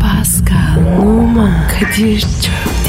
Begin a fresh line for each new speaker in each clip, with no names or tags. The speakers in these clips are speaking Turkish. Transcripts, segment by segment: Pascal, Oman, Kadir çok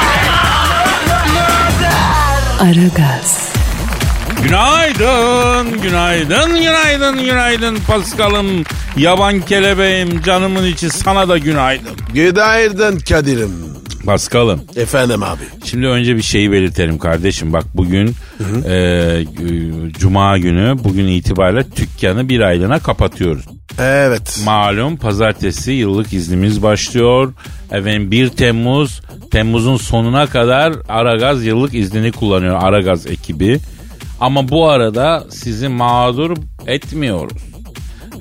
Aragaz,
Günaydın, günaydın, günaydın, günaydın Paskal'ım. Yaban kelebeğim, canımın içi sana da günaydın.
Günaydın Kadir'im.
Paskal'ım,
Efendim abi.
şimdi önce bir şeyi belirtelim kardeşim. Bak bugün e, e, Cuma günü, bugün itibariyle dükkanı bir aylığına kapatıyoruz.
Evet.
Malum pazartesi yıllık iznimiz başlıyor. Efendim 1 Temmuz, Temmuz'un sonuna kadar Aragaz yıllık iznini kullanıyor Aragaz ekibi. Ama bu arada sizi mağdur etmiyoruz.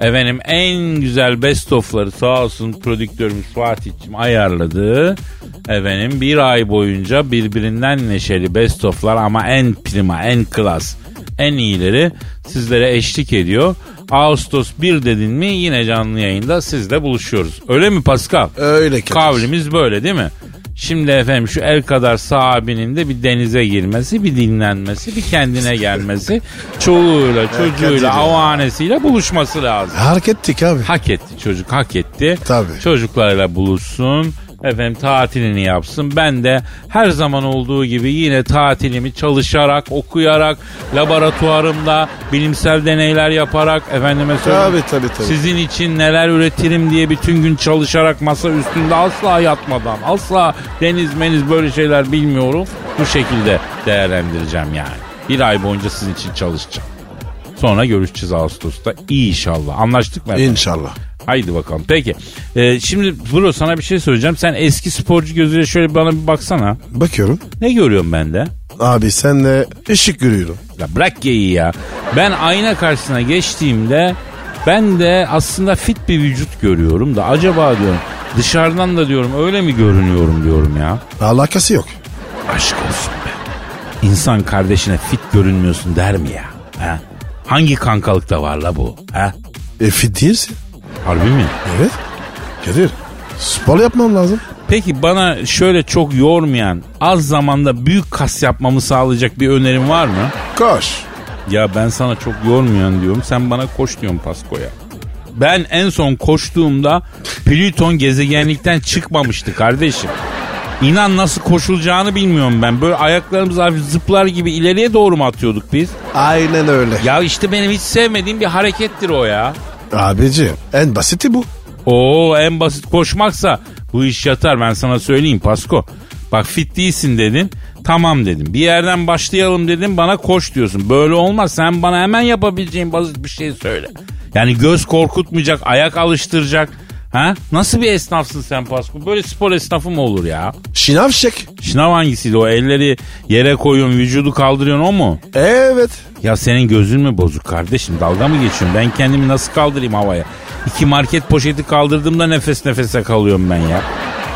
Efendim en güzel best of'ları sağ olsun prodüktörümüz Fatih'cim ayarladı. Efendim bir ay boyunca birbirinden neşeli best of'lar ama en prima, en klas, en iyileri sizlere eşlik ediyor. Ağustos 1 dedin mi yine canlı yayında sizle buluşuyoruz. Öyle mi Pascal?
Öyle Kadir.
Kavlimiz böyle değil mi? Şimdi efendim şu el kadar sahibinin de bir denize girmesi, bir dinlenmesi, bir kendine gelmesi, çoluğuyla,
Kadir ya.
çocuğuyla, avanesiyle buluşması lazım.
Hareket ettik abi.
Hak etti çocuk hak etti.
Tabii.
Çocuklarla buluşsun. Efendim tatilini yapsın. Ben de her zaman olduğu gibi yine tatilimi çalışarak, okuyarak, laboratuvarımda bilimsel deneyler yaparak efendime söyleyeyim.
Tabii, tabii, tabii.
Sizin için neler üretirim diye bütün gün çalışarak masa üstünde asla yatmadan, asla deniz meniz böyle şeyler bilmiyorum. Bu şekilde değerlendireceğim yani. Bir ay boyunca sizin için çalışacağım. Sonra görüşeceğiz Ağustos'ta. İnşallah. Anlaştık mı? efendim?
İnşallah.
Haydi bakalım. Peki. Ee, şimdi bro sana bir şey söyleyeceğim. Sen eski sporcu gözüyle şöyle bana bir baksana.
Bakıyorum.
Ne görüyorum ben de?
Abi senle ışık görüyorum.
Ya bırak geyiği ya. Ben ayna karşısına geçtiğimde ben de aslında fit bir vücut görüyorum da acaba diyorum dışarıdan da diyorum öyle mi görünüyorum diyorum ya.
Alakası yok.
Aşk olsun be. İnsan kardeşine fit görünmüyorsun der mi ya? Ha? Hangi kankalıkta var la bu? Ha?
E fit değilsin.
Harbi mi?
Evet. Kadir. Spor yapmam lazım.
Peki bana şöyle çok yormayan, az zamanda büyük kas yapmamı sağlayacak bir önerin var mı?
Koş.
Ya ben sana çok yormayan diyorum. Sen bana koş diyorsun Pasko'ya. Ben en son koştuğumda Plüton gezegenlikten çıkmamıştı kardeşim. İnan nasıl koşulacağını bilmiyorum ben. Böyle ayaklarımız hafif zıplar gibi ileriye doğru mu atıyorduk biz?
Aynen öyle.
Ya işte benim hiç sevmediğim bir harekettir o ya.
Abici en basiti bu.
Oo en basit koşmaksa bu iş yatar ben sana söyleyeyim Pasko. Bak fit değilsin dedin. Tamam dedim. Bir yerden başlayalım dedim bana koş diyorsun. Böyle olmaz. Sen bana hemen yapabileceğin basit bir şey söyle. Yani göz korkutmayacak, ayak alıştıracak. Ha? Nasıl bir esnafsın sen Pasko? Böyle spor esnafı mı olur ya?
Şınav çek.
Şınav hangisiydi o? Elleri yere koyuyorsun, vücudu kaldırıyorsun o mu?
Evet.
Ya senin gözün mü bozuk kardeşim? Dalga mı geçiyorsun? Ben kendimi nasıl kaldırayım havaya? İki market poşeti kaldırdığımda nefes nefese kalıyorum ben ya.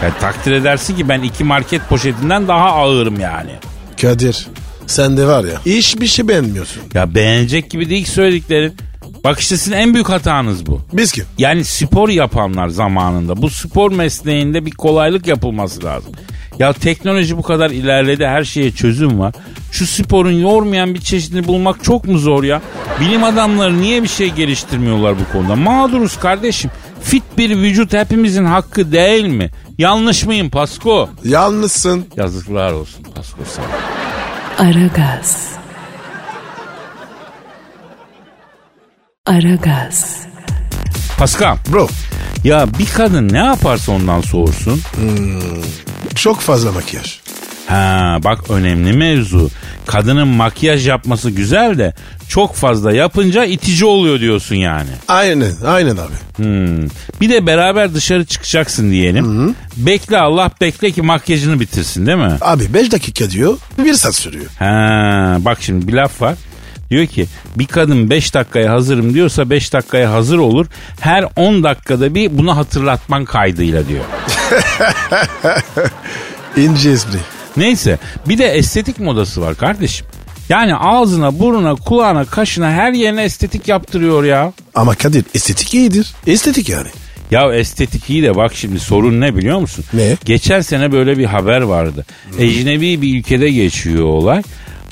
Ya takdir edersin ki ben iki market poşetinden daha ağırım yani.
Kadir. Sen de var ya. Hiçbir şey beğenmiyorsun.
Ya beğenecek gibi değil ki söylediklerin. Bak işte sizin en büyük hatanız bu.
Biz kim?
Yani spor yapanlar zamanında bu spor mesleğinde bir kolaylık yapılması lazım. Ya teknoloji bu kadar ilerledi her şeye çözüm var. Şu sporun yormayan bir çeşidini bulmak çok mu zor ya? Bilim adamları niye bir şey geliştirmiyorlar bu konuda? Mağduruz kardeşim. Fit bir vücut hepimizin hakkı değil mi? Yanlış mıyım Pasko?
Yalnızsın.
Yazıklar olsun Pasko sana.
Aragaz. Aragaz,
Paskam
Bro
ya bir kadın ne yaparsa ondan soğursun.
çok fazla makyaj.
Ha bak önemli mevzu. Kadının makyaj yapması güzel de çok fazla yapınca itici oluyor diyorsun yani.
Aynen aynen abi.
Hmm. Bir de beraber dışarı çıkacaksın diyelim. Bekle Allah bekle ki makyajını bitirsin değil mi?
Abi 5 dakika diyor 1 saat sürüyor.
Ha bak şimdi bir laf var. Diyor ki bir kadın 5 dakikaya hazırım diyorsa 5 dakikaya hazır olur. Her 10 dakikada bir bunu hatırlatman kaydıyla diyor.
İnce espri.
Neyse bir de estetik modası var kardeşim. Yani ağzına, burnuna, kulağına, kaşına her yerine estetik yaptırıyor ya.
Ama Kadir estetik iyidir. Estetik yani.
Ya estetik iyi de bak şimdi sorun ne biliyor musun?
Ne?
Geçen sene böyle bir haber vardı. Ecnebi bir ülkede geçiyor olay.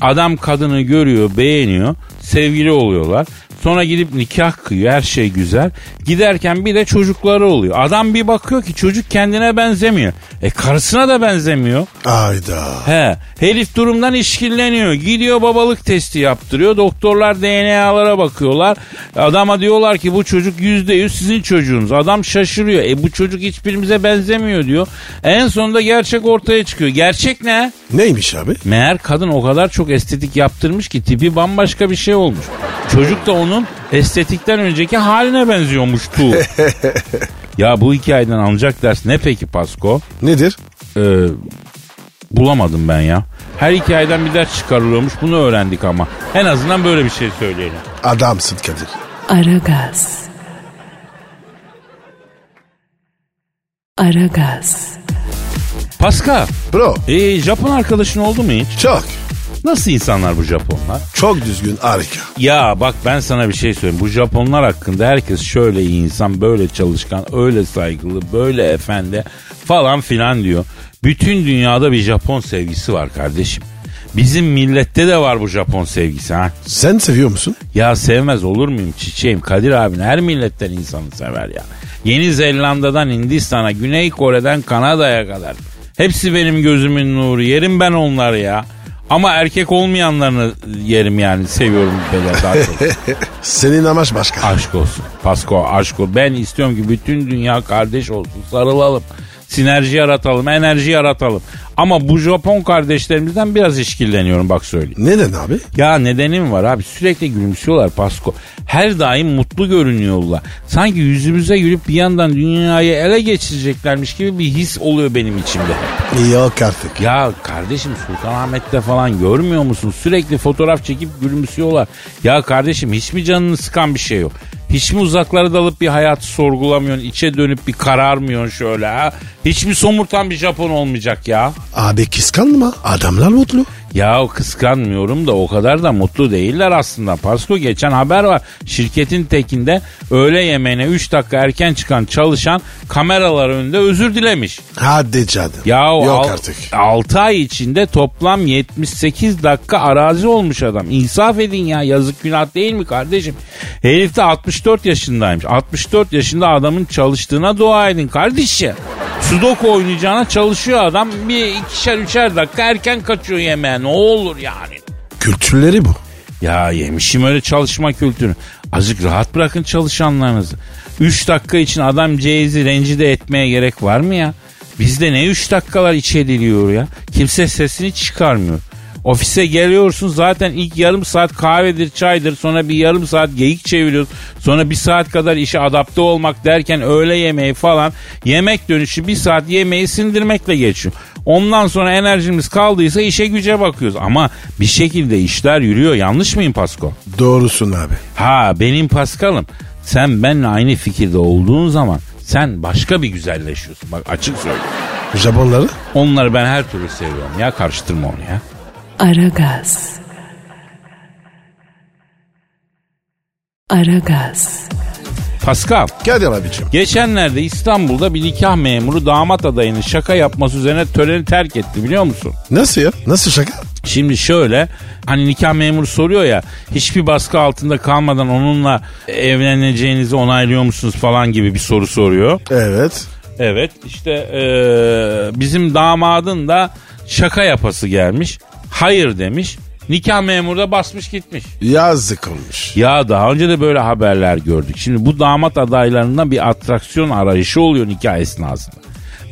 Adam kadını görüyor, beğeniyor, sevgili oluyorlar. Sonra gidip nikah kıyıyor, her şey güzel. Giderken bir de çocukları oluyor. Adam bir bakıyor ki çocuk kendine benzemiyor. E karısına da benzemiyor.
Ayda.
He, herif durumdan işkilleniyor. Gidiyor babalık testi yaptırıyor. Doktorlar DNA'lara bakıyorlar. Adama diyorlar ki bu çocuk yüzde yüz sizin çocuğunuz. Adam şaşırıyor. E bu çocuk hiçbirimize benzemiyor diyor. En sonunda gerçek ortaya çıkıyor. Gerçek ne?
Neymiş abi?
Meğer kadın o kadar çok estetik yaptırmış ki tipi bambaşka bir şey olmuş. Çocuk da onun estetikten önceki haline benziyormuştu. ya bu hikayeden alınacak ders ne peki Pasko?
Nedir?
Ee, bulamadım ben ya. Her hikayeden bir ders çıkarılıyormuş. Bunu öğrendik ama. En azından böyle bir şey söyleyelim.
Adamsın Kadir.
Aragaz. Aragaz.
Paska,
Bro
e, Japon arkadaşın oldu mu hiç?
çok
Nasıl insanlar bu Japonlar?
çok düzgün harika.
Ya bak ben sana bir şey söyleyeyim. Bu Japonlar hakkında herkes şöyle iyi insan, böyle çalışkan, öyle saygılı, böyle efendi falan filan diyor. Bütün dünyada bir Japon sevgisi var kardeşim. Bizim millette de var bu Japon sevgisi ha.
Sen seviyor musun?
Ya sevmez olur muyum çiçeğim? Kadir abin her milletten insanı sever ya. Yeni Zelanda'dan Hindistan'a, Güney Kore'den Kanada'ya kadar. Hepsi benim gözümün nuru. Yerim ben onları ya. Ama erkek olmayanlarını yerim yani. Seviyorum böyle daha çok.
Senin amaç başka.
aşk olsun. Pasko aşk ol. Ben istiyorum ki bütün dünya kardeş olsun. Sarılalım. Sinerji yaratalım. Enerji yaratalım. Ama bu Japon kardeşlerimizden biraz işkilleniyorum bak söyleyeyim.
Neden abi?
Ya nedenim var abi sürekli gülümsüyorlar Pasko. Her daim mutlu görünüyorlar. Sanki yüzümüze gülüp bir yandan dünyayı ele geçireceklermiş gibi bir his oluyor benim içimde.
Yok artık.
Ya kardeşim Sultanahmet'te falan görmüyor musun? Sürekli fotoğraf çekip gülümsüyorlar. Ya kardeşim hiç mi canını sıkan bir şey yok? Hiç mi uzaklara dalıp bir hayatı sorgulamıyorsun? içe dönüp bir kararmıyorsun şöyle ha? Hiç mi somurtan bir Japon olmayacak ya?
Abi kıskanma. Adamlar mutlu.
Ya kıskanmıyorum da o kadar da mutlu değiller aslında. Pasko geçen haber var. Şirketin tekinde öğle yemeğine 3 dakika erken çıkan çalışan kameralar önünde özür dilemiş.
Hadi canım.
Ya
Yok artık.
6 ay içinde toplam 78 dakika arazi olmuş adam. İnsaf edin ya yazık günah değil mi kardeşim? Herif de 64 yaşındaymış. 64 yaşında adamın çalıştığına dua edin kardeşim. Sudoku oynayacağına çalışıyor adam. Bir ikişer üçer dakika erken kaçıyor yemeğe. Ne olur yani.
Kültürleri bu.
Ya yemişim öyle çalışma kültürü. Azıcık rahat bırakın çalışanlarınızı. 3 dakika için adam Jay-Z'i rencide etmeye gerek var mı ya? Bizde ne 3 dakikalar iç ediliyor ya? Kimse sesini çıkarmıyor. Ofise geliyorsun zaten ilk yarım saat kahvedir çaydır sonra bir yarım saat geyik çeviriyoruz. Sonra bir saat kadar işe adapte olmak derken öğle yemeği falan yemek dönüşü bir saat yemeği sindirmekle geçiyor. Ondan sonra enerjimiz kaldıysa işe güce bakıyoruz. Ama bir şekilde işler yürüyor. Yanlış mıyım Pasko?
Doğrusun abi.
Ha benim Paskal'ım. Sen benimle aynı fikirde olduğun zaman sen başka bir güzelleşiyorsun. Bak açık söyleyeyim.
Japonları?
Onları ben her türlü seviyorum ya. Karıştırma onu ya.
Aragaz. Aragaz.
Paskal.
Kadir abicim.
Geçenlerde İstanbul'da bir nikah memuru damat adayının şaka yapması üzerine töreni terk etti biliyor musun?
Nasıl ya? Nasıl şaka?
Şimdi şöyle hani nikah memuru soruyor ya hiçbir baskı altında kalmadan onunla evleneceğinizi onaylıyor musunuz falan gibi bir soru soruyor.
Evet.
Evet işte eee, bizim damadın da şaka yapası gelmiş. Hayır demiş. Nikah memuru da basmış gitmiş.
Yazık olmuş.
Ya daha önce de böyle haberler gördük. Şimdi bu damat adaylarından bir atraksiyon arayışı oluyor nikah esnasında.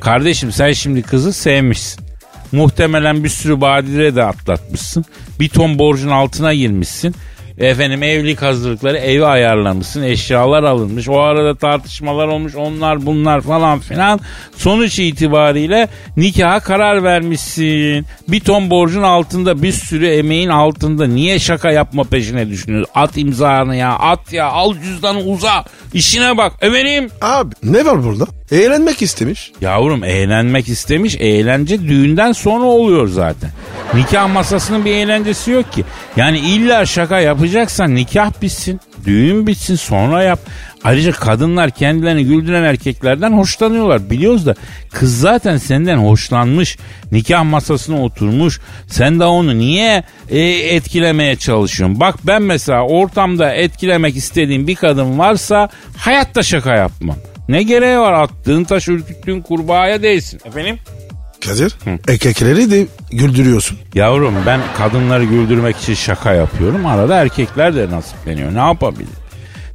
Kardeşim sen şimdi kızı sevmişsin. Muhtemelen bir sürü badire de atlatmışsın. Bir ton borcun altına girmişsin. Efendim evlilik hazırlıkları evi ayarlamışsın. Eşyalar alınmış. O arada tartışmalar olmuş. Onlar bunlar falan filan. Sonuç itibariyle nikaha karar vermişsin. Bir ton borcun altında bir sürü emeğin altında. Niye şaka yapma peşine düşünüyorsun? At imzanı ya at ya al cüzdanı uza. İşine bak. Efendim
Abi ne var burada? Eğlenmek istemiş.
Yavrum eğlenmek istemiş. Eğlence düğünden sonra oluyor zaten. Nikah masasının bir eğlencesi yok ki. Yani illa şaka yapacaksan nikah bitsin, düğün bitsin sonra yap. Ayrıca kadınlar kendilerini güldüren erkeklerden hoşlanıyorlar biliyoruz da kız zaten senden hoşlanmış. Nikah masasına oturmuş. Sen de onu niye e, etkilemeye çalışıyorsun? Bak ben mesela ortamda etkilemek istediğim bir kadın varsa hayatta şaka yapmam. Ne gereği var attığın taş ürküttüğün kurbağaya değsin. Efendim?
Kadir erkekleri de güldürüyorsun.
Yavrum ben kadınları güldürmek için şaka yapıyorum. Arada erkekler de nasipleniyor. Ne yapabilir?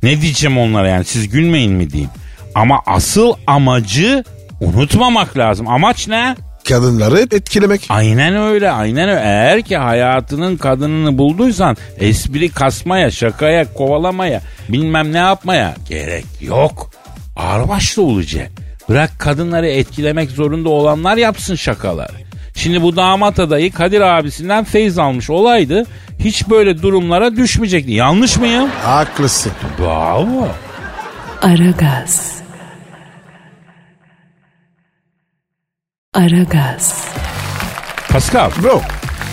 Ne diyeceğim onlara yani siz gülmeyin mi diyeyim. Ama asıl amacı unutmamak lazım. Amaç ne?
Kadınları etkilemek.
Aynen öyle aynen öyle. Eğer ki hayatının kadınını bulduysan espri kasmaya, şakaya, kovalamaya, bilmem ne yapmaya gerek yok. Ağırbaşlı olacak. Bırak kadınları etkilemek zorunda olanlar yapsın şakaları. Şimdi bu damat adayı Kadir abisinden feyz almış olaydı hiç böyle durumlara düşmeyecekti. Yanlış mıyım?
Haklısın.
Bravo.
Aragaz. Aragaz.
Pascal,
Bro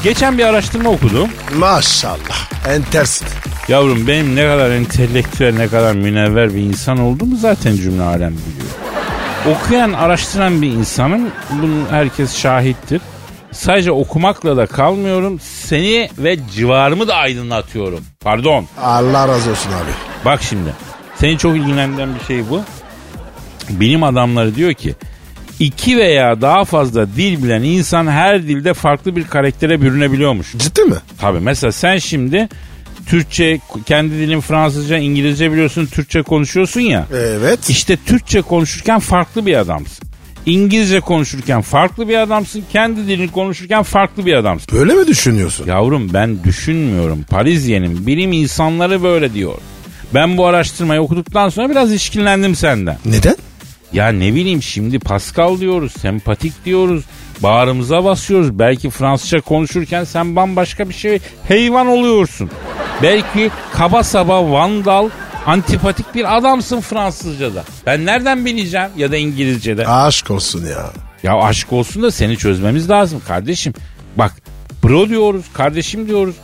geçen bir araştırma okudum.
maşallah entersin.
Yavrum benim ne kadar entelektüel ne kadar münevver bir insan olduğumu zaten cümle alem biliyor. Okuyan araştıran bir insanım. Bunun herkes şahittir. Sadece okumakla da kalmıyorum. Seni ve civarımı da aydınlatıyorum. Pardon.
Allah razı olsun abi.
Bak şimdi. Seni çok ilgilendiren bir şey bu. Bilim adamları diyor ki iki veya daha fazla dil bilen insan her dilde farklı bir karaktere bürünebiliyormuş.
Ciddi mi?
Tabii mesela sen şimdi Türkçe, kendi dilin Fransızca, İngilizce biliyorsun, Türkçe konuşuyorsun ya.
Evet.
İşte Türkçe konuşurken farklı bir adamsın. İngilizce konuşurken farklı bir adamsın. Kendi dilini konuşurken farklı bir adamsın.
Böyle mi düşünüyorsun?
Yavrum ben düşünmüyorum. Parisye'nin bilim insanları böyle diyor. Ben bu araştırmayı okuduktan sonra biraz işkillendim senden.
Neden?
Ya ne bileyim şimdi Pascal diyoruz, sempatik diyoruz. Bağrımıza basıyoruz. Belki Fransızca konuşurken sen bambaşka bir şey heyvan oluyorsun. Belki kaba saba vandal, antipatik bir adamsın Fransızca'da. Ben nereden bileceğim ya da İngilizce'de.
Aşk olsun ya.
Ya aşk olsun da seni çözmemiz lazım kardeşim. Bak bro diyoruz, kardeşim diyoruz.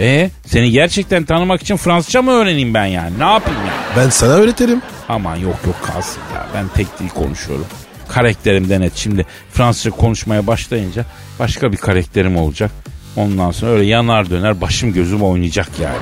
E seni gerçekten tanımak için Fransızca mı öğreneyim ben yani? Ne yapayım ya?
Ben sana öğretirim.
Aman yok yok kalsın ya. Ben tek dil konuşuyorum. Karakterimden et. Şimdi Fransızca konuşmaya başlayınca başka bir karakterim olacak. Ondan sonra öyle yanar döner başım gözüm oynayacak yani.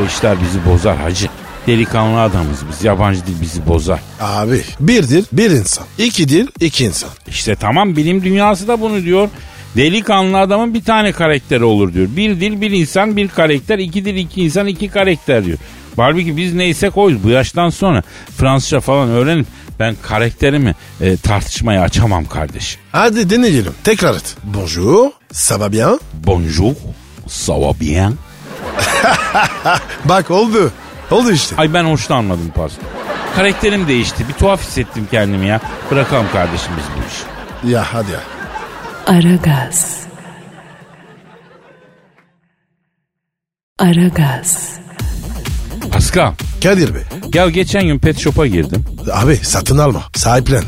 O işler bizi bozar hacı. Delikanlı adamız biz. Yabancı dil bizi bozar.
Abi bir dil bir insan. İki dil iki insan.
İşte tamam bilim dünyası da bunu diyor. Delikanlı adamın bir tane karakteri olur diyor. Bir dil bir insan bir karakter, iki dil iki insan iki karakter diyor. Halbuki biz neyse koyuz bu yaştan sonra Fransızca falan öğrenip ben karakterimi e, tartışmaya açamam kardeşim.
Hadi deneyelim. Tekrar et. Bonjour. Ça va bien?
Bonjour, ça va bien?
Bak oldu. Oldu işte.
Ay ben hoşlanmadım pardon. Karakterim değişti bir tuhaf hissettim kendimi ya. Bırakalım kardeşim biz bu işi.
Ya hadi ya.
Aragaz. Aragaz.
Pascal,
Kadir Bey.
ya geçen gün pet shop'a girdim.
Abi satın alma. Sahiplen.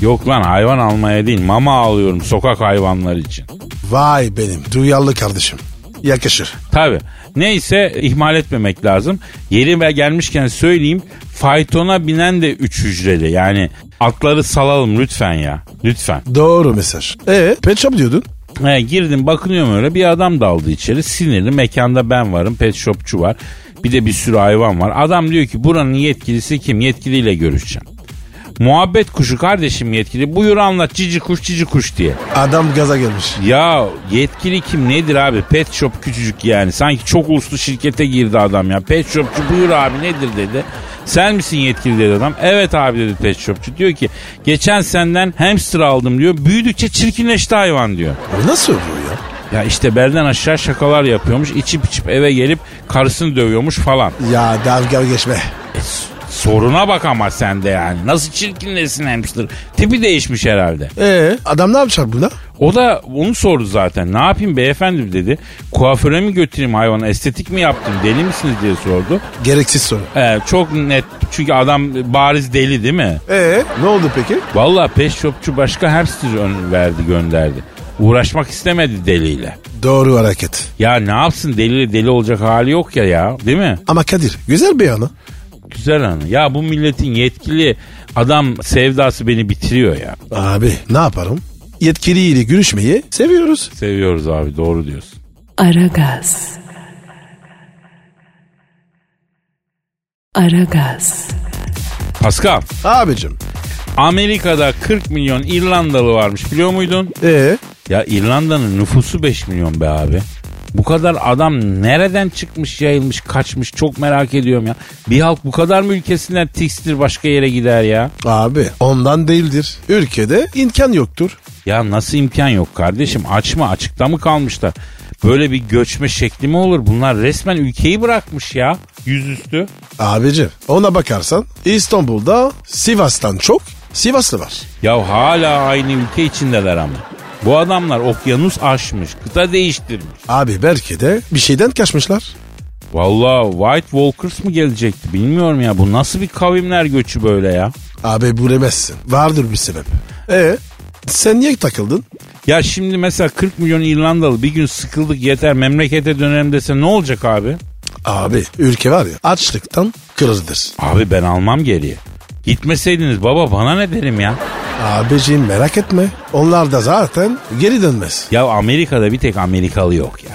Yok lan hayvan almaya değil mama alıyorum sokak hayvanları için.
Vay benim duyarlı kardeşim. Yakışır.
Tabi neyse ihmal etmemek lazım. Yeri ve gelmişken söyleyeyim faytona binen de üç hücreli yani atları salalım lütfen ya lütfen.
Doğru mesaj. E pet shop diyordun.
He, girdim bakınıyorum öyle bir adam daldı içeri sinirli mekanda ben varım pet shopçu var bir de bir sürü hayvan var. Adam diyor ki buranın yetkilisi kim yetkiliyle görüşeceğim. Muhabbet kuşu kardeşim yetkili buyur anlat cici kuş cici kuş diye.
Adam gaza gelmiş.
Ya yetkili kim nedir abi? Pet shop küçücük yani. Sanki çok uluslu şirkete girdi adam ya. Pet shopçu buyur abi nedir dedi. Sen misin yetkili dedi adam. Evet abi dedi pet shopçu. Diyor ki geçen senden hamster aldım diyor. Büyüdükçe çirkinleşti hayvan diyor.
O nasıl oluyor ya?
Ya işte belden aşağı şakalar yapıyormuş. İçip içip eve gelip karısını dövüyormuş falan.
Ya dalga geçme.
E, s- soruna bak ama sen de yani. Nasıl çirkinlesin hamster. Tipi değişmiş herhalde.
Ee, adam ne yapacak burada?
O da onu sordu zaten. Ne yapayım beyefendim dedi. Kuaföre mi götüreyim hayvanı estetik mi yaptım deli misiniz diye sordu.
Gereksiz soru.
Ee, çok net çünkü adam bariz deli değil mi?
Ee, ne oldu peki?
Valla peş çöpçü başka hamster ön- verdi gönderdi. Uğraşmak istemedi deliyle.
Doğru hareket.
Ya ne yapsın deliyle deli olacak hali yok ya ya değil mi?
Ama Kadir güzel bir anı.
Güzel anı. Ya bu milletin yetkili adam sevdası beni bitiriyor ya.
Abi ne yaparım? Yetkiliyle görüşmeyi seviyoruz.
Seviyoruz abi doğru diyorsun.
Aragaz. Aragaz.
Pascal
Abicim.
Amerika'da 40 milyon İrlandalı varmış biliyor muydun?
Ee,
Ya İrlanda'nın nüfusu 5 milyon be abi. Bu kadar adam nereden çıkmış yayılmış kaçmış çok merak ediyorum ya. Bir halk bu kadar mı ülkesinden tikstir başka yere gider ya?
abi ondan değildir. Ülkede imkan yoktur.
Ya nasıl imkan yok kardeşim açma açıkta mı kalmışlar? Böyle bir göçme şekli mi olur? Bunlar resmen ülkeyi bırakmış ya yüzüstü.
Abicim ona bakarsan İstanbul'da Sivas'tan çok Sivaslı var.
Ya hala aynı ülke içindeler ama. Bu adamlar okyanus aşmış, kıta değiştirmiş.
Abi belki de bir şeyden kaçmışlar.
Valla White Walkers mı gelecekti bilmiyorum ya. Bu nasıl bir kavimler göçü böyle ya?
Abi bulemezsin. Vardır bir sebep. Ee, sen niye takıldın?
Ya şimdi mesela 40 milyon İrlandalı bir gün sıkıldık yeter memlekete dönelim dese ne olacak abi?
Abi ülke var ya açlıktan kırılır.
Abi ben almam geriye. Gitmeseydiniz baba bana ne derim ya?
Abicim merak etme. Onlar da zaten geri dönmez.
Ya Amerika'da bir tek Amerikalı yok ya.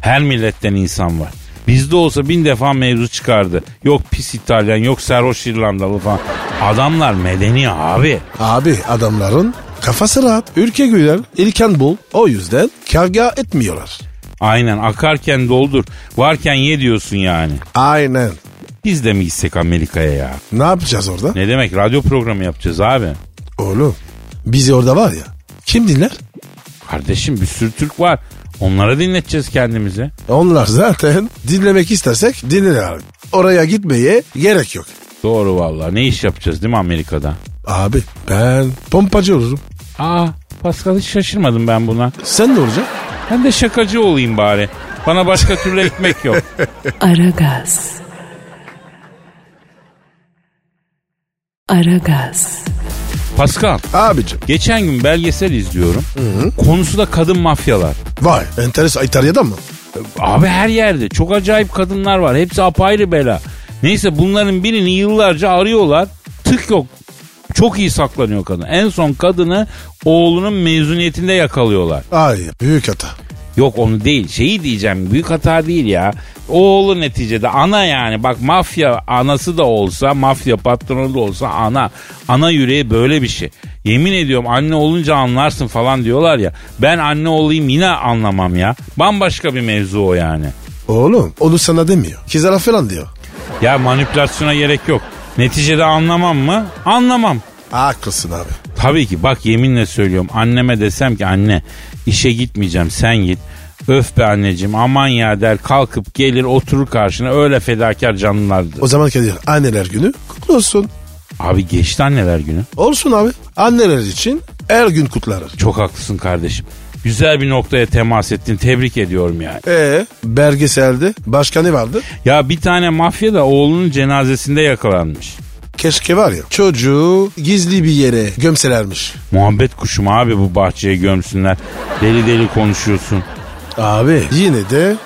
Her milletten insan var. Bizde olsa bin defa mevzu çıkardı. Yok pis İtalyan, yok sarhoş İrlandalı falan. Adamlar medeni abi.
Abi adamların kafası rahat. Ülke güzel. İlken bul. O yüzden kavga etmiyorlar.
Aynen akarken doldur, varken ye diyorsun yani.
Aynen.
Biz de mi gitsek Amerika'ya ya?
Ne yapacağız orada?
Ne demek radyo programı yapacağız abi?
Oğlum bizi orada var ya. Kim dinler?
Kardeşim bir sürü Türk var. Onlara dinleteceğiz kendimizi.
E, Onlar zaten dinlemek istersek dinler abi. Oraya gitmeye gerek yok.
Doğru vallahi. Ne iş yapacağız değil mi Amerika'da?
Abi ben pompacı olurum.
Aa Pascal hiç şaşırmadım ben buna.
Sen ne olacaksın?
Ben de şakacı olayım bari. Bana başka türlü ekmek yok.
Aragaz. Aragaz.
Pascal
Abicim.
geçen gün belgesel izliyorum. Konusu da kadın mafyalar.
Vay enteresan İtalya'dan mı?
Abi her yerde çok acayip kadınlar var. Hepsi apayrı bela. Neyse bunların birini yıllarca arıyorlar. Tık yok. Çok iyi saklanıyor kadın. En son kadını oğlunun mezuniyetinde yakalıyorlar.
Ay büyük hata.
Yok onu değil. Şeyi diyeceğim büyük hata değil ya. Oğlu neticede ana yani. Bak mafya anası da olsa, mafya patronu da olsa ana. Ana yüreği böyle bir şey. Yemin ediyorum anne olunca anlarsın falan diyorlar ya. Ben anne olayım yine anlamam ya. Bambaşka bir mevzu o yani.
Oğlum onu sana demiyor. Kızlara falan diyor.
Ya manipülasyona gerek yok. Neticede anlamam mı? Anlamam.
Haklısın abi.
Tabii ki bak yeminle söylüyorum anneme desem ki anne işe gitmeyeceğim sen git. Öf be anneciğim aman ya der kalkıp gelir oturur karşına öyle fedakar canlılardır.
O zaman Kadir anneler günü kutlu olsun.
Abi geçti anneler günü.
Olsun abi. Anneler için her gün kutlanır.
Çok haklısın kardeşim. Güzel bir noktaya temas ettin tebrik ediyorum yani.
Ee, belgeselde başka ne vardı?
Ya bir tane mafya da oğlunun cenazesinde yakalanmış.
Keşke var ya çocuğu gizli bir yere gömselermiş.
Muhabbet kuşum abi bu bahçeye gömsünler. Deli deli konuşuyorsun.
Abi yine de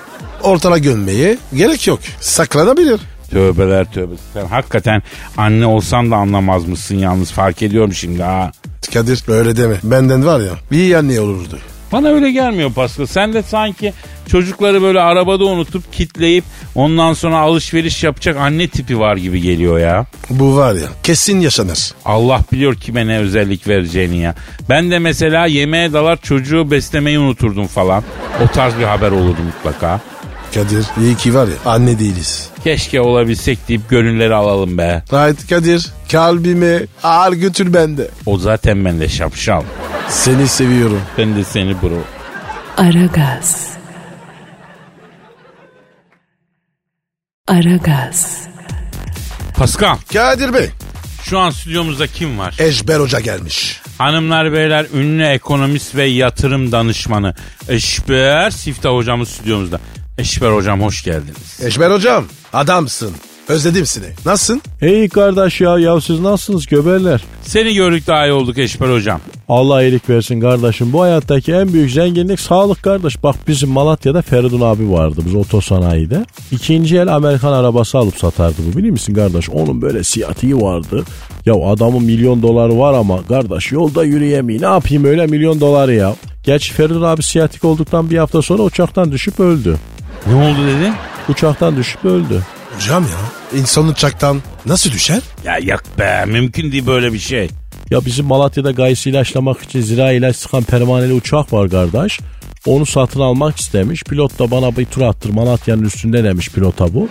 ortala gömmeye gerek yok. Saklanabilir.
Tövbeler tövbe. Sen hakikaten anne olsan da anlamaz mısın yalnız fark ediyorum şimdi ha.
Kadir öyle deme. Benden var ya bir anne olurdu.
Bana öyle gelmiyor Pascal. Sen de sanki çocukları böyle arabada unutup kitleyip ondan sonra alışveriş yapacak anne tipi var gibi geliyor ya.
Bu var ya kesin yaşanır.
Allah biliyor kime ne özellik vereceğini ya. Ben de mesela yemeğe dalar çocuğu beslemeyi unuturdum falan. O tarz bir haber olurdu mutlaka.
Kadir iyi ki var ya anne değiliz.
Keşke olabilsek deyip gönülleri alalım be.
Haydi Kadir kalbimi ağır götür bende.
O zaten bende şapşal.
Seni seviyorum.
Ben de seni bro.
Aragaz. Aragaz.
Pascal
Kadir Bey.
şu an stüdyomuzda kim var?
Eşber Hoca gelmiş.
Hanımlar beyler ünlü ekonomist ve yatırım danışmanı Eşber Siftah hocamız stüdyomuzda. Eşber hocam hoş geldiniz.
Eşber Hocam adamsın. Özledim seni. Nasılsın?
İyi kardeş ya. Ya siz nasılsınız göberler?
Seni gördük daha iyi olduk Eşber hocam.
Allah iyilik versin kardeşim. Bu hayattaki en büyük zenginlik sağlık kardeş. Bak bizim Malatya'da Feridun abi vardı biz otosanayide. İkinci el Amerikan arabası alıp satardı bu biliyor musun kardeş? Onun böyle siyatiği vardı. Ya adamın milyon doları var ama kardeş yolda yürüyemeyi ne yapayım öyle milyon doları ya. Gerçi Feridun abi siyatik olduktan bir hafta sonra uçaktan düşüp öldü.
Ne oldu dedin?
Uçaktan düşüp öldü.
Hocam ya. İnsan uçaktan nasıl düşer?
Ya yok be mümkün değil böyle bir şey.
Ya bizim Malatya'da gayısı ilaçlamak için zira ilaç sıkan pervaneli uçak var kardeş. Onu satın almak istemiş. Pilot da bana bir tur attır Malatya'nın üstünde demiş pilota bu.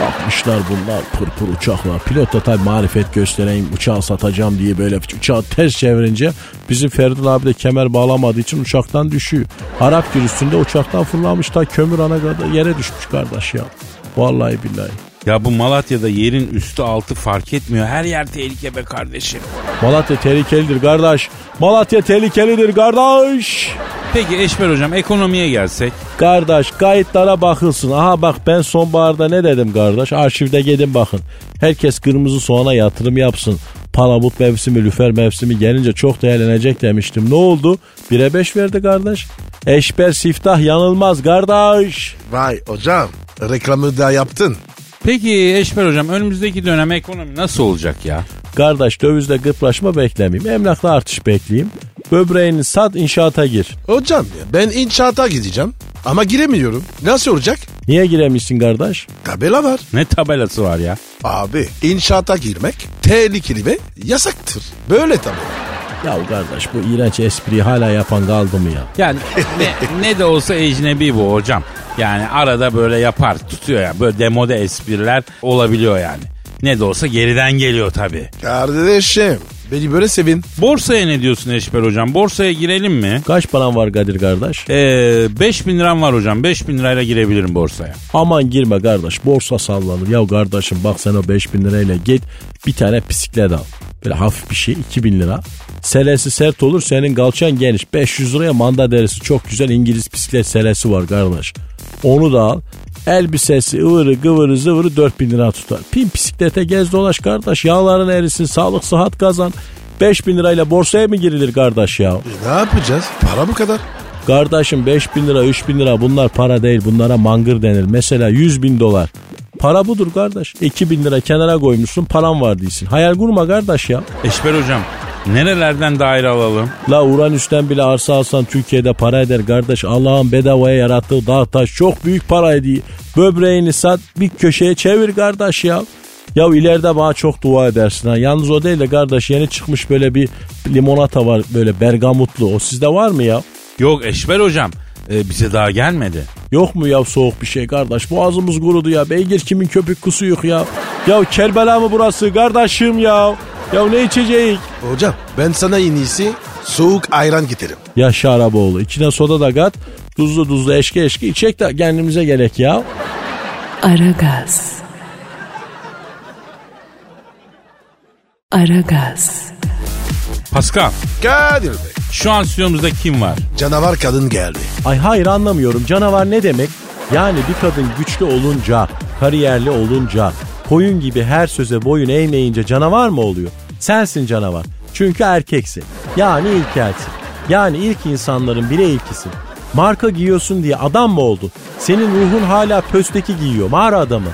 Bakmışlar bunlar pırpır uçaklar. Pilot da tabii marifet göstereyim uçağı satacağım diye böyle uçağı ters çevirince bizim Feridun abi de kemer bağlamadığı için uçaktan düşüyor. Arap gir üstünde uçaktan fırlamış ta kömür ana kadar yere düşmüş kardeş ya. Vallahi billahi.
Ya bu Malatya'da yerin üstü altı fark etmiyor. Her yer tehlike be kardeşim.
Malatya tehlikelidir kardeş. Malatya tehlikelidir kardeş.
Peki Eşber hocam ekonomiye gelsek.
Kardeş kayıtlara bakılsın. Aha bak ben sonbaharda ne dedim kardeş? Arşivde gidin bakın. Herkes kırmızı soğana yatırım yapsın. Palamut mevsimi, lüfer mevsimi gelince çok değerlenecek demiştim. Ne oldu? 1'e 5 verdi kardeş. Eşber siftah yanılmaz kardeş.
Vay hocam. Reklamı da yaptın.
Peki Eşber hocam önümüzdeki dönem ekonomi nasıl olacak ya?
Kardeş dövizde gıplaşma beklemeyeyim. Emlakla artış bekleyeyim. Böbreğini sat inşaata gir.
Hocam ya ben inşaata gideceğim. Ama giremiyorum. Nasıl olacak?
Niye giremişsin kardeş?
Tabela var.
Ne tabelası var ya?
Abi inşaata girmek tehlikeli ve yasaktır. Böyle tabii.
Ya kardeş bu iğrenç espriyi hala yapan kaldı mı ya?
Yani ne, ne de olsa ecnebi bu hocam. Yani arada böyle yapar tutuyor ya. Böyle demode espriler olabiliyor yani. Ne de olsa geriden geliyor tabii.
Kardeşim beni böyle sevin.
Borsaya ne diyorsun Eşber hocam? Borsaya girelim mi?
Kaç paran var Kadir kardeş?
Ee, 5 bin liram var hocam. 5 bin lirayla girebilirim borsaya.
Aman girme kardeş borsa sallanır. Ya kardeşim bak sen o 5000 lirayla git bir tane bisiklet al. Böyle hafif bir şey 2000 lira. Selesi sert olur senin kalçan geniş. 500 liraya manda derisi çok güzel İngiliz bisiklet selesi var kardeş. Onu da al. Elbisesi ıvırı gıvırı zıvırı 4000 lira tutar. Pin bisiklete gez dolaş kardeş. Yağların erisin sağlık sıhhat kazan. 5000 lirayla borsaya mı girilir kardeş ya?
E, Ne yapacağız? Para bu kadar.
Kardeşim 5 bin lira 3 bin lira bunlar para değil bunlara mangır denir. Mesela 100 bin dolar. Para budur kardeş. 2 bin lira kenara koymuşsun param var değilsin. Hayal kurma kardeş ya.
Eşber hocam nerelerden daire alalım?
La Uranüs'ten bile arsa alsan Türkiye'de para eder kardeş. Allah'ın bedavaya yarattığı dağ taş çok büyük para ediyor. Böbreğini sat bir köşeye çevir kardeş ya. Ya ileride bana çok dua edersin ha. Yalnız o değil de kardeş yeni çıkmış böyle bir limonata var böyle bergamutlu. O sizde var mı ya?
Yok Eşber hocam e, bize daha gelmedi.
Yok mu ya soğuk bir şey kardeş? Boğazımız kurudu ya. Beygir kimin köpük kusuyuk ya. Ya Kerbela mı burası kardeşim ya? Ya ne içecek?
Hocam ben sana en iyisi soğuk ayran getirim.
Ya Şaraboğlu içine soda da kat. Tuzlu tuzlu eşki eşki içecek de kendimize gerek ya.
Aragaz. Aragaz.
Pascal
Kadir Bey.
şu an stüdyomuzda kim var?
Canavar kadın geldi.
Ay hayır anlamıyorum. Canavar ne demek? Yani bir kadın güçlü olunca, kariyerli olunca, koyun gibi her söze boyun eğmeyince canavar mı oluyor? Sensin canavar. Çünkü erkeksin. Yani ilkelsin. Yani ilk insanların bire ilkisin. Marka giyiyorsun diye adam mı oldu? Senin ruhun hala pösteki giyiyor mağara adamı.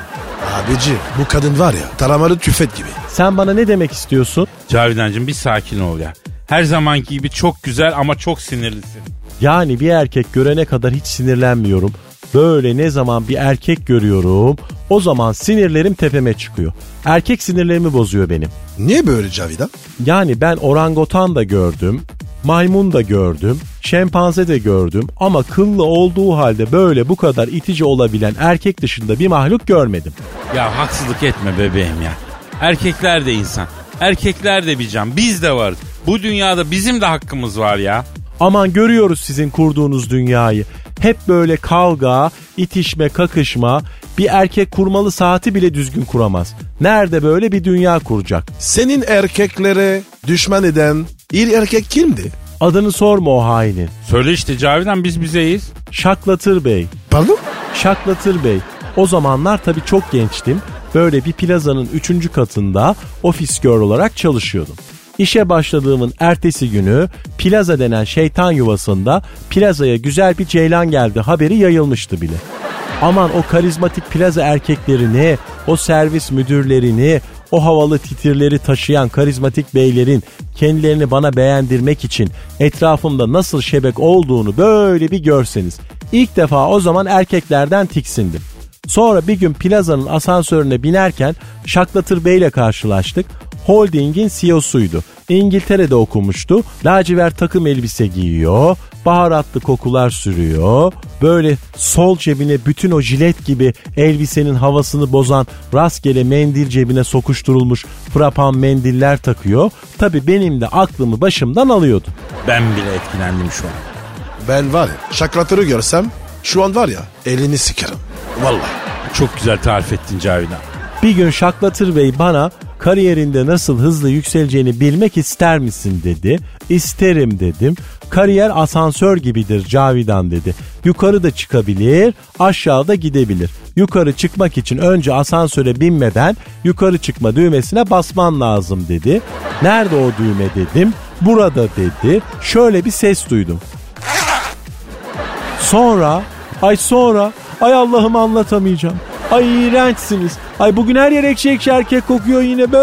Abici bu kadın var ya taramalı tüfek gibi.
Sen bana ne demek istiyorsun?
Cavidancığım bir sakin ol ya. Her zamanki gibi çok güzel ama çok sinirlisin.
Yani bir erkek görene kadar hiç sinirlenmiyorum. Böyle ne zaman bir erkek görüyorum o zaman sinirlerim tepeme çıkıyor. Erkek sinirlerimi bozuyor benim.
Niye böyle Cavidan?
Yani ben orangotan da gördüm, maymun da gördüm, şempanze de gördüm ama kıllı olduğu halde böyle bu kadar itici olabilen erkek dışında bir mahluk görmedim.
Ya haksızlık etme bebeğim ya. Erkekler de insan. Erkekler de bir can. Biz de varız. Bu dünyada bizim de hakkımız var ya.
Aman görüyoruz sizin kurduğunuz dünyayı. Hep böyle kavga, itişme, kakışma, Bir erkek kurmalı saati bile düzgün kuramaz. Nerede böyle bir dünya kuracak?
Senin erkeklere düşman eden ilk erkek kimdi?
Adını sorma o hainin.
Söyle işte Cavidan biz bizeyiz.
Şaklatır Bey.
Pardon?
Şaklatır Bey. O zamanlar tabii çok gençtim. Böyle bir plazanın 3. katında ofis girl olarak çalışıyordum. İşe başladığımın ertesi günü plaza denen şeytan yuvasında plazaya güzel bir ceylan geldi haberi yayılmıştı bile. Aman o karizmatik plaza erkeklerini, o servis müdürlerini, o havalı titirleri taşıyan karizmatik beylerin kendilerini bana beğendirmek için etrafımda nasıl şebek olduğunu böyle bir görseniz. İlk defa o zaman erkeklerden tiksindim. Sonra bir gün plazanın asansörüne binerken Şaklatır Bey ile karşılaştık. Holding'in CEO'suydu. İngiltere'de okumuştu. Lacivert takım elbise giyiyor. Baharatlı kokular sürüyor. Böyle sol cebine bütün o jilet gibi elbisenin havasını bozan rastgele mendil cebine sokuşturulmuş frapan mendiller takıyor. Tabi benim de aklımı başımdan alıyordu.
Ben bile etkilendim şu an.
Ben var ya şaklatırı görsem şu an var ya elini sikerim. Vallahi.
Çok güzel tarif ettin Cavidan.
Bir gün Şaklatır Bey bana kariyerinde nasıl hızlı yükseleceğini bilmek ister misin dedi. İsterim dedim. Kariyer asansör gibidir Cavidan dedi. Yukarı da çıkabilir, aşağıda gidebilir. Yukarı çıkmak için önce asansöre binmeden yukarı çıkma düğmesine basman lazım dedi. Nerede o düğme dedim. Burada dedi. Şöyle bir ses duydum. Sonra, ay sonra, ay Allah'ım anlatamayacağım. Ay iğrençsiniz. Ay bugün her yer ekşi ekşi erkek kokuyor yine be.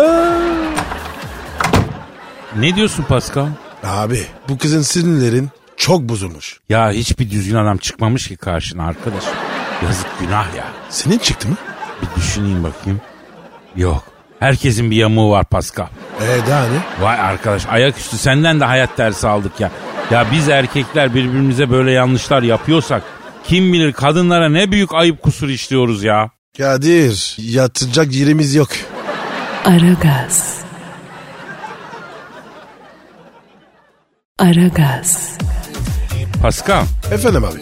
Ne diyorsun Pascal?
Abi bu kızın sinirlerin çok bozulmuş.
Ya hiçbir düzgün adam çıkmamış ki karşına arkadaş. Yazık günah ya.
Senin çıktı mı?
Bir düşüneyim bakayım. Yok. Herkesin bir yamuğu var Pascal.
Ee daha ne?
Vay arkadaş ayaküstü senden de hayat dersi aldık ya. Ya biz erkekler birbirimize böyle yanlışlar yapıyorsak kim bilir kadınlara ne büyük ayıp kusur işliyoruz ya.
Kadir yatacak yerimiz yok.
Aragaz. Aragaz.
Pascal,
Efendim abi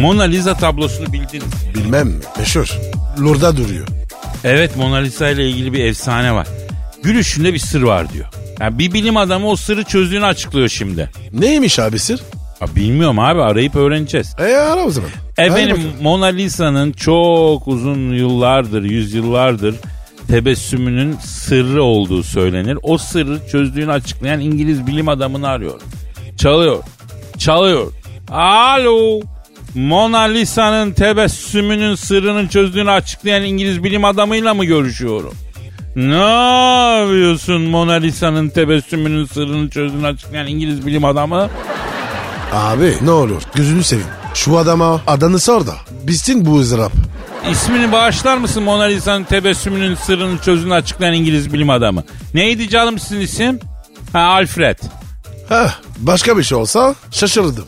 Mona Lisa tablosunu bildiniz.
bilmem mi? Meşhur. Lurda duruyor.
Evet Mona Lisa ile ilgili bir efsane var. Gülüşünde bir sır var diyor. Yani bir bilim adamı o sırrı çözdüğünü açıklıyor şimdi.
Neymiş abi sır?
Ya bilmiyorum abi arayıp öğreneceğiz.
E ara o zaman. Hadi
Efendim
bakalım.
Mona Lisa'nın çok uzun yıllardır, yüzyıllardır tebessümünün sırrı olduğu söylenir. O sırrı çözdüğünü açıklayan İngiliz bilim adamını arıyor. Çalıyor, çalıyor. Alo, Mona Lisa'nın tebessümünün sırrını çözdüğünü açıklayan İngiliz bilim adamıyla mı görüşüyorum? Ne yapıyorsun Mona Lisa'nın tebessümünün sırrını çözdüğünü açıklayan İngiliz bilim adamı?
Abi ne olur gözünü seveyim. Şu adama adını sor da bitsin bu ızdırap.
İsmini bağışlar mısın Mona Lisa'nın tebessümünün sırrını çözünü açıklayan İngiliz bilim adamı? Neydi canım sizin isim? Ha Alfred.
Heh, başka bir şey olsa şaşırırdım.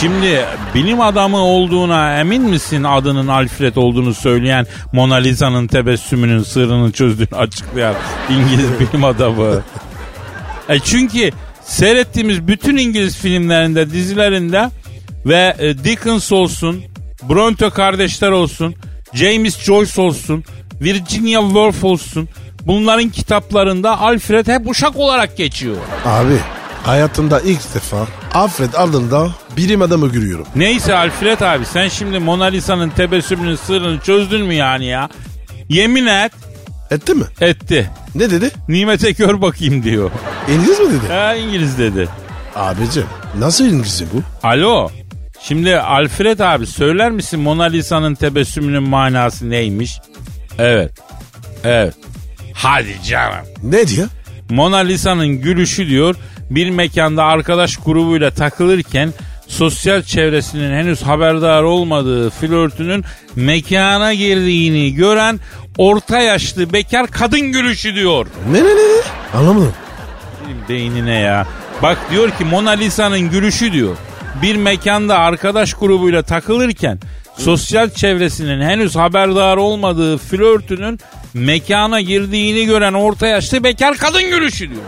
Şimdi bilim adamı olduğuna emin misin adının Alfred olduğunu söyleyen Mona Lisa'nın tebessümünün sırrını çözdüğünü açıklayan İngiliz bilim adamı? E çünkü seyrettiğimiz bütün İngiliz filmlerinde, dizilerinde ve e, Dickens olsun, Bronte kardeşler olsun, James Joyce olsun, Virginia Woolf olsun bunların kitaplarında Alfred hep uşak olarak geçiyor.
Abi hayatımda ilk defa Alfred ardında bilim adamı görüyorum.
Neyse Alfred abi sen şimdi Mona Lisa'nın tebessümünün sırrını çözdün mü yani ya? Yemin et
Etti mi?
etti.
Ne dedi?
Nimete kör bakayım diyor.
İngiliz mi dedi?
Ha İngiliz dedi.
Abicim nasıl İngilizce bu?
Alo. Şimdi Alfred abi söyler misin Mona Lisa'nın tebessümünün manası neymiş? Evet. Evet. Hadi canım.
Ne diyor?
Mona Lisa'nın gülüşü diyor bir mekanda arkadaş grubuyla takılırken sosyal çevresinin henüz haberdar olmadığı flörtünün mekana girdiğini gören orta yaşlı bekar kadın gülüşü diyor.
Ne ne ne ne? Anlamadım.
Benim beynine ya. Bak diyor ki Mona Lisa'nın gülüşü diyor. Bir mekanda arkadaş grubuyla takılırken sosyal çevresinin henüz haberdar olmadığı flörtünün mekana girdiğini gören orta yaşlı bekar kadın gülüşü diyor.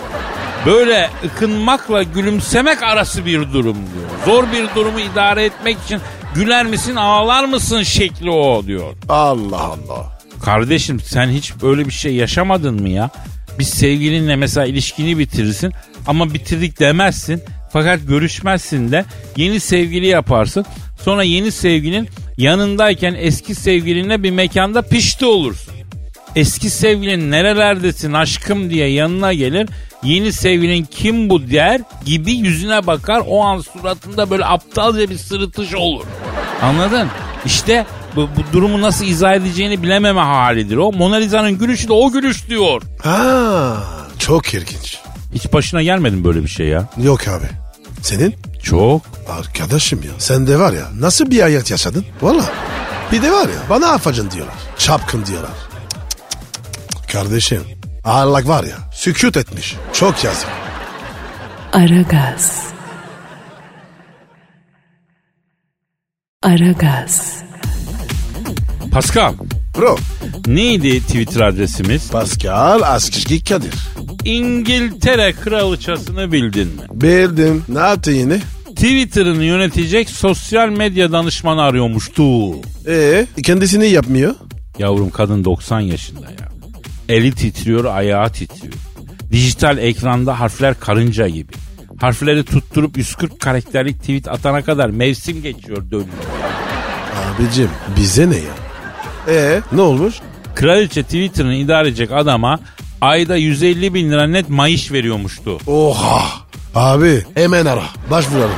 Böyle ıkınmakla gülümsemek arası bir durum diyor. Zor bir durumu idare etmek için Güler misin ağlar mısın şekli o diyor.
Allah Allah.
Kardeşim sen hiç böyle bir şey yaşamadın mı ya? Biz sevgilinle mesela ilişkini bitirirsin ama bitirdik demezsin. Fakat görüşmezsin de yeni sevgili yaparsın. Sonra yeni sevgilin yanındayken eski sevgilinle bir mekanda pişti olursun. Eski sevgilin nerelerdesin aşkım diye yanına gelir. Yeni sevgilin kim bu der gibi yüzüne bakar. O an suratında böyle aptalca bir sırıtış olur. Anladın? İşte bu, bu durumu nasıl izah edeceğini bilememe halidir o. Mona Lisa'nın gülüşü de o gülüş diyor.
Ha, çok ilginç.
Hiç başına gelmedin böyle bir şey ya.
Yok abi. Senin?
Çok.
Arkadaşım ya sen de var ya nasıl bir hayat yaşadın? Valla. Bir de var ya bana afacın diyorlar. Çapkın diyorlar. Cık, cık, cık. Kardeşim ağırlık var ya sükut etmiş. Çok yazık.
Aragaz. Aragaz.
Pascal
Bro
neydi Twitter adresimiz?
Pascal Askizgi Kadir.
İngiltere kraliçasını bildin mi?
Bildim. Ne yaptı yine?
Twitter'ını yönetecek sosyal medya danışmanı arıyormuştu.
Ee kendisini yapmıyor.
Yavrum kadın 90 yaşında ya. Eli titriyor, ayağı titriyor. Dijital ekranda harfler karınca gibi. Harfleri tutturup 140 karakterlik tweet atana kadar mevsim geçiyor dönüyor.
Abicim bize ne ya? Ee ne olmuş?
Kraliçe Twitter'ını idare edecek adama ayda 150 bin lira net maaş veriyormuştu.
Oha. Abi hemen ara. Başvuralım.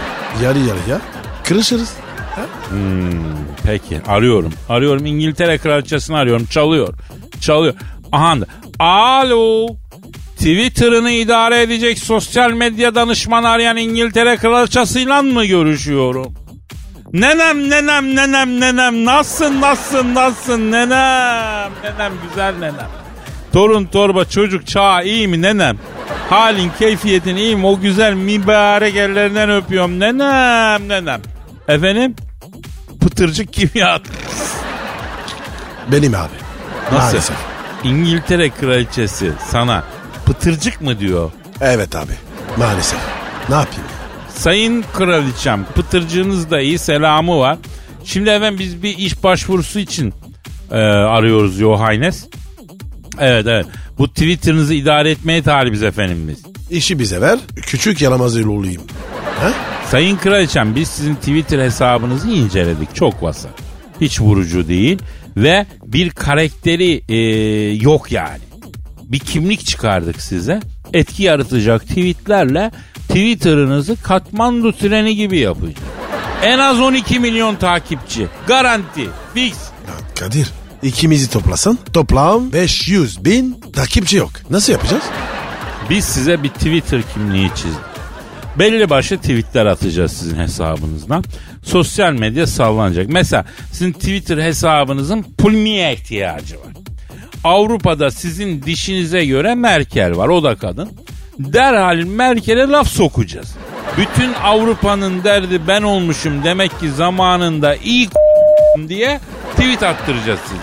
Yarı yarı ya. Kırışırız.
Peki arıyorum. Arıyorum İngiltere kraliçesini arıyorum. Çalıyor. Çalıyor. Aha da. Alo. Twitter'ını idare edecek sosyal medya danışmanı arayan İngiltere kraliçesiyle mı görüşüyorum? Nenem nenem nenem nenem nasılsın nasılsın nasılsın nenem nenem güzel nenem. Torun torba çocuk çağ iyi mi nenem? Halin keyfiyetin iyi mi? O güzel mübarek ellerinden öpüyorum nenem nenem. Efendim? Pıtırcık kimya.
Benim abi.
Nasıl?
Maalesef.
İngiltere kraliçesi sana pıtırcık mı diyor?
Evet abi. Maalesef. Ne yapayım?
Sayın kraliçem pıtırcığınız da iyi selamı var. Şimdi efendim biz bir iş başvurusu için e, arıyoruz Your Highness. Evet evet. Bu Twitter'ınızı idare etmeye talibiz efendim biz.
İşi bize ver. Küçük yaramaz el olayım. Ha?
Sayın Kraliçem biz sizin Twitter hesabınızı inceledik. Çok vasat. Hiç vurucu değil. Ve bir karakteri e, yok yani. Bir kimlik çıkardık size. Etki yaratacak tweetlerle Twitter'ınızı katmandu treni gibi yapacağız. En az 12 milyon takipçi. Garanti. Fix.
Ya Kadir ikimizi toplasın. Toplam 500 bin takipçi yok. Nasıl yapacağız?
Biz size bir Twitter kimliği çizdik. Belli başlı tweetler atacağız sizin hesabınızdan. Sosyal medya sallanacak. Mesela sizin Twitter hesabınızın pulmiye ihtiyacı var. Avrupa'da sizin dişinize göre Merkel var. O da kadın. Derhal Merkel'e laf sokacağız. Bütün Avrupa'nın derdi ben olmuşum demek ki zamanında iyi diye tweet attıracağız size.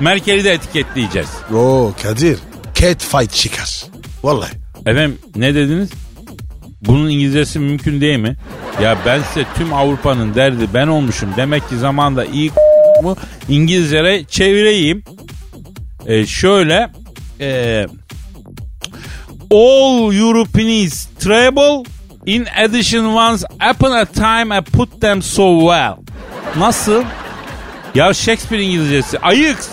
Merkel'i de etiketleyeceğiz.
Oo Kadir cat fight çıkar. Vallahi.
Efendim ne dediniz? Bunun İngilizcesi mümkün değil mi? Ya ben size tüm Avrupa'nın derdi ben olmuşum. Demek ki zamanda iyi mu İngilizlere çevireyim. Ee, şöyle ee, All Europeans travel in addition once upon a time I put them so well. Nasıl? Ya Shakespeare İngilizcesi. Ayıks.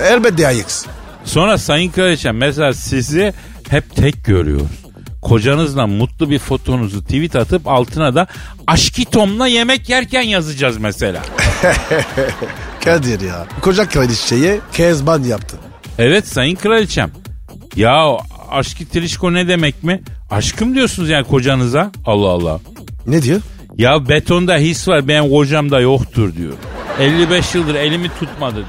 Elbette ayıks.
Sonra Sayın Kraliçem mesela sizi hep tek görüyoruz. Kocanızla mutlu bir fotonuzu tweet atıp altına da aşkitomla yemek yerken yazacağız mesela.
Kadir ya. Koca kraliçeye kezban yaptı.
Evet Sayın Kraliçem. Ya aşki trişko ne demek mi? Aşkım diyorsunuz yani kocanıza. Allah Allah.
Ne diyor?
Ya betonda his var benim kocamda yoktur diyor. 55 yıldır elimi tutmadı diyor.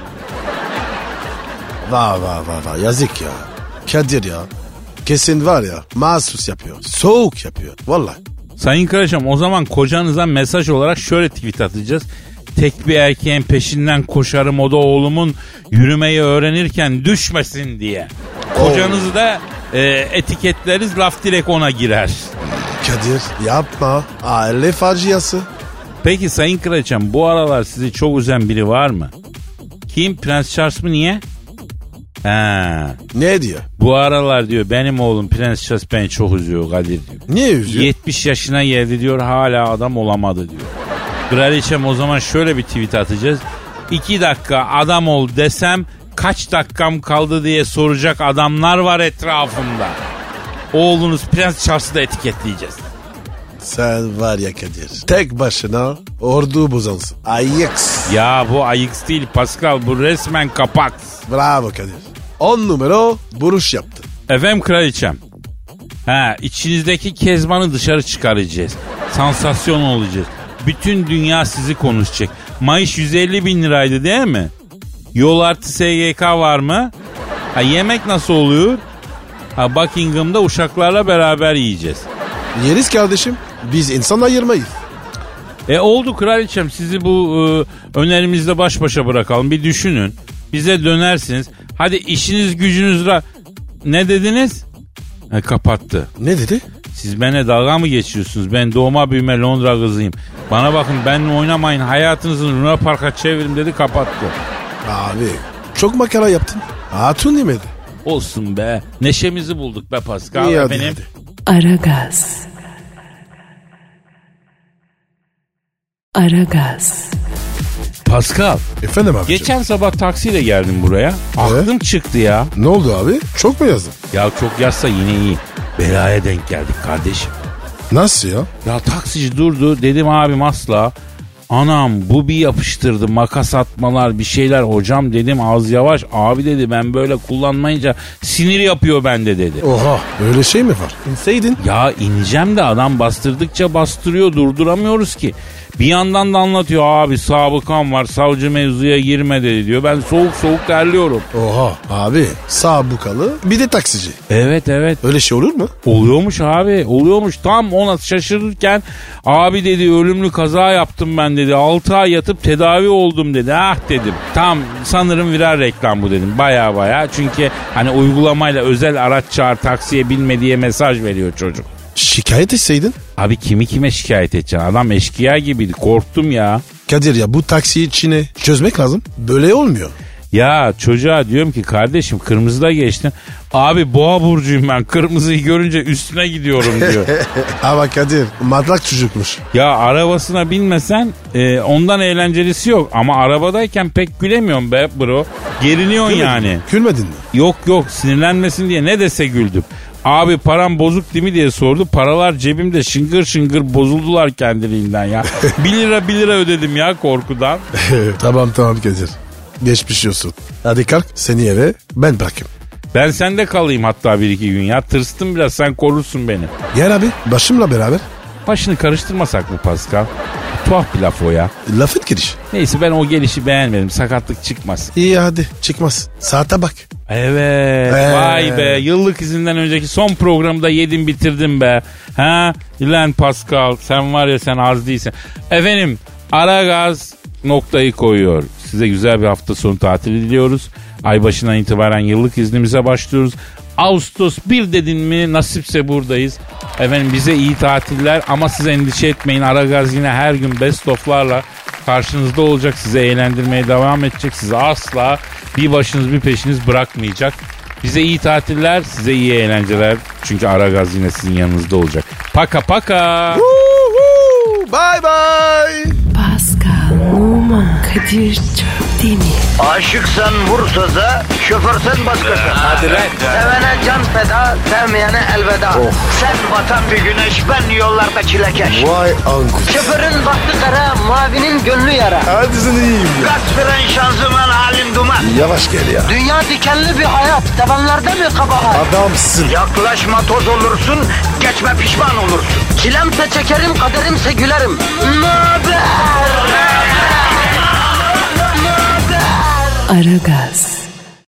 Va va va va yazık ya. Kadir ya. Kesin var ya mahsus yapıyor. Soğuk yapıyor. Vallahi.
Sayın Kardeşim o zaman kocanıza mesaj olarak şöyle tweet atacağız. Tek bir erkeğin peşinden koşarım o da oğlumun yürümeyi öğrenirken düşmesin diye. Kocanızı da e, etiketleriz laf direkt ona girer.
Kadir yapma. Aile faciası.
Peki Sayın Kraliçem bu aralar sizi çok üzen biri var mı? Kim? Prens Charles mı niye? Ha,
Ne diyor?
bu aralar diyor benim oğlum Prens Charles beni çok üzüyor Kadir diyor.
Niye üzüyor?
70 yaşına geldi diyor hala adam olamadı diyor. Kraliçem o zaman şöyle bir tweet atacağız. 2 dakika adam ol desem kaç dakikam kaldı diye soracak adamlar var etrafımda. Oğlunuz Prens Charles'ı da etiketleyeceğiz.
Sen var ya Kadir. Tek başına ordu bozansın. Ayıks.
Ya bu ayıks değil Pascal bu resmen kapak.
Bravo Kadir. 10 numara buruş yaptı.
Efendim kraliçem. Ha içinizdeki kezbanı dışarı çıkaracağız. Sansasyon olacağız. Bütün dünya sizi konuşacak. Mayıs 150 bin liraydı değil mi? Yol artı SGK var mı? Ha yemek nasıl oluyor? Ha Buckingham'da uşaklarla beraber yiyeceğiz.
Yeriz kardeşim. Biz insan ayırmayız.
E oldu kraliçem sizi bu e, önerimizle baş başa bırakalım. Bir düşünün. Bize dönersiniz. Hadi işiniz gücünüz ra... Ne dediniz? E, kapattı.
Ne dedi?
Siz bana dalga mı geçiyorsunuz? Ben doğma büyüme Londra kızıyım. Bana bakın benimle oynamayın. Hayatınızı Luna Park'a çevirin dedi kapattı.
Abi çok makara yaptın. Hatun yemedi.
Olsun be. Neşemizi bulduk be Pascal.
İyi hadi,
efendim.
hadi.
Aragaz. Aragaz.
Pascal.
Efendim abi.
Geçen sabah taksiyle geldim buraya. Aklım çıktı ya.
Ne oldu abi? Çok mu yazdın?
Ya çok yazsa yine iyi. Belaya denk geldik kardeşim.
Nasıl ya?
Ya taksici durdu dedim abim asla. Anam bu bir yapıştırdı makas atmalar bir şeyler hocam dedim az yavaş abi dedi ben böyle kullanmayınca sinir yapıyor bende dedi.
Oha öyle şey mi var? İnseydin.
Ya ineceğim de adam bastırdıkça bastırıyor durduramıyoruz ki. Bir yandan da anlatıyor abi sabıkan var savcı mevzuya girme dedi diyor ben soğuk soğuk terliyorum.
Oha abi sabukalı bir de taksici.
Evet evet
Öyle şey olur mu?
Oluyormuş abi oluyormuş tam ona şaşırırken abi dedi ölümlü kaza yaptım ben dedi 6 ay yatıp tedavi oldum dedi ah dedim tam sanırım viral reklam bu dedim baya baya çünkü hani uygulamayla özel araç çağır taksiye binme diye mesaj veriyor çocuk.
Şikayet etseydin.
Abi kimi kime şikayet edeceksin adam eşkıya gibiydi korktum ya.
Kadir ya bu taksi içini çözmek lazım. Böyle olmuyor.
Ya çocuğa diyorum ki kardeşim kırmızıda geçtin. Abi boğa burcuyum ben kırmızıyı görünce üstüne gidiyorum diyor.
Ama Kadir matlak çocukmuş.
Ya arabasına binmesen e, ondan eğlencelisi yok. Ama arabadayken pek gülemiyorum be bro. Geriliyorsun yani.
Gülmedin mi?
Yok yok sinirlenmesin diye ne dese güldüm. Abi param bozuk değil mi diye sordu. Paralar cebimde şıngır şıngır bozuldular kendiliğinden ya. 1 lira 1 lira ödedim ya korkudan.
tamam tamam Kadir. Geçmiş olsun. Hadi kalk seni eve ben bırakayım.
Ben sende kalayım hatta bir iki gün ya. Tırstım biraz sen korursun beni.
Gel abi başımla beraber.
Başını karıştırmasak mı Pascal? Tuhaf bir laf o ya.
Lafın giriş.
Neyse ben o gelişi beğenmedim. Sakatlık çıkmasın.
İyi hadi çıkmaz. Saate bak.
Evet.
Ee.
Vay be. Yıllık izinden önceki son programda yedim bitirdim be. Ha? Lan Pascal sen var ya sen az değilsin. Efendim Aragaz noktayı koyuyor. Size güzel bir hafta sonu tatili diliyoruz. Ay başından itibaren yıllık iznimize başlıyoruz. Ağustos 1 dedin mi nasipse buradayız. Efendim bize iyi tatiller ama siz endişe etmeyin. Aragaz yine her gün best of'larla karşınızda olacak. Size eğlendirmeye devam edecek. Sizi asla bir başınız bir peşiniz bırakmayacak. Bize iyi tatiller, size iyi eğlenceler. Çünkü Aragaz yine sizin yanınızda olacak. Paka paka.
Bye bye.
Pascal, Oman, Kadir çok değil mi?
Aşıksan vursa da şoförsen başkasın. Hadi
lan.
Sevene can feda, sevmeyene elveda. Sen batan bir güneş, ben yollarda çilekeş.
Vay anku.
Şoförün baktı kara, mavinin gönlü yara.
Hadi sen iyiyim ya.
Kasperen şanzıman halin duman.
Yavaş gel ya.
Dünya dikenli bir hayat, sevenlerde mi kabahar?
Adamsın.
Yaklaşma toz olursun, geçme pişman olursun. Çilemse çekerim, kaderimse gülerim. Möber!
Aragaz.